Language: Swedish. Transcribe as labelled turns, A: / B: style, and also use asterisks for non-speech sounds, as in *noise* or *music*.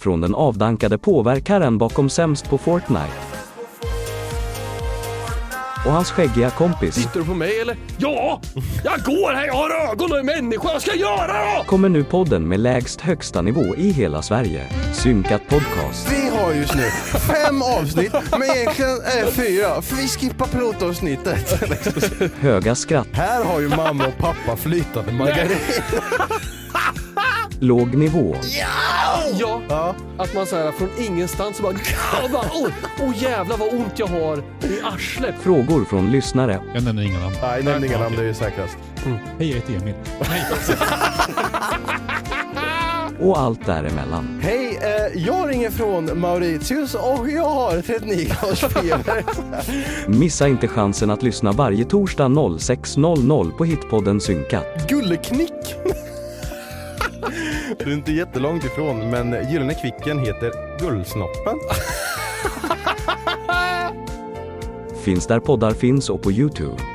A: från den avdankade påverkaren bakom Sämst på Fortnite. Och hans skäggiga kompis
B: Tittar du på mig eller? Ja! Jag går här, jag har ögon och är människa. Vad ska jag göra då?
A: kommer nu podden med lägst högsta nivå i hela Sverige. Synkat podcast.
C: Vi har just nu fem avsnitt, men egentligen är det fyra, för vi skippar pilotavsnittet.
A: Höga skratt.
C: Här har ju mamma och pappa flytande margarin.
A: Låg nivå.
B: Ja, att man så här från ingenstans så bara... *laughs* Åh bara, oh, oh, jävlar vad ont jag har i arslet.
A: Frågor från lyssnare.
D: Jag nämner inga namn.
C: Nej, nämn inga namn, det är ju säkrast.
D: Hej, jag heter Emil.
A: Och allt däremellan.
C: Hej, eh, jag ringer från Mauritius och jag har 39 graders feber.
A: Missa inte chansen att lyssna varje torsdag 06.00 på hitpodden Synkat.
C: Gulleknick. Du är inte jättelångt ifrån, men Gyllene Kvicken heter Gullsnoppen.
A: Finns där poddar finns och på Youtube.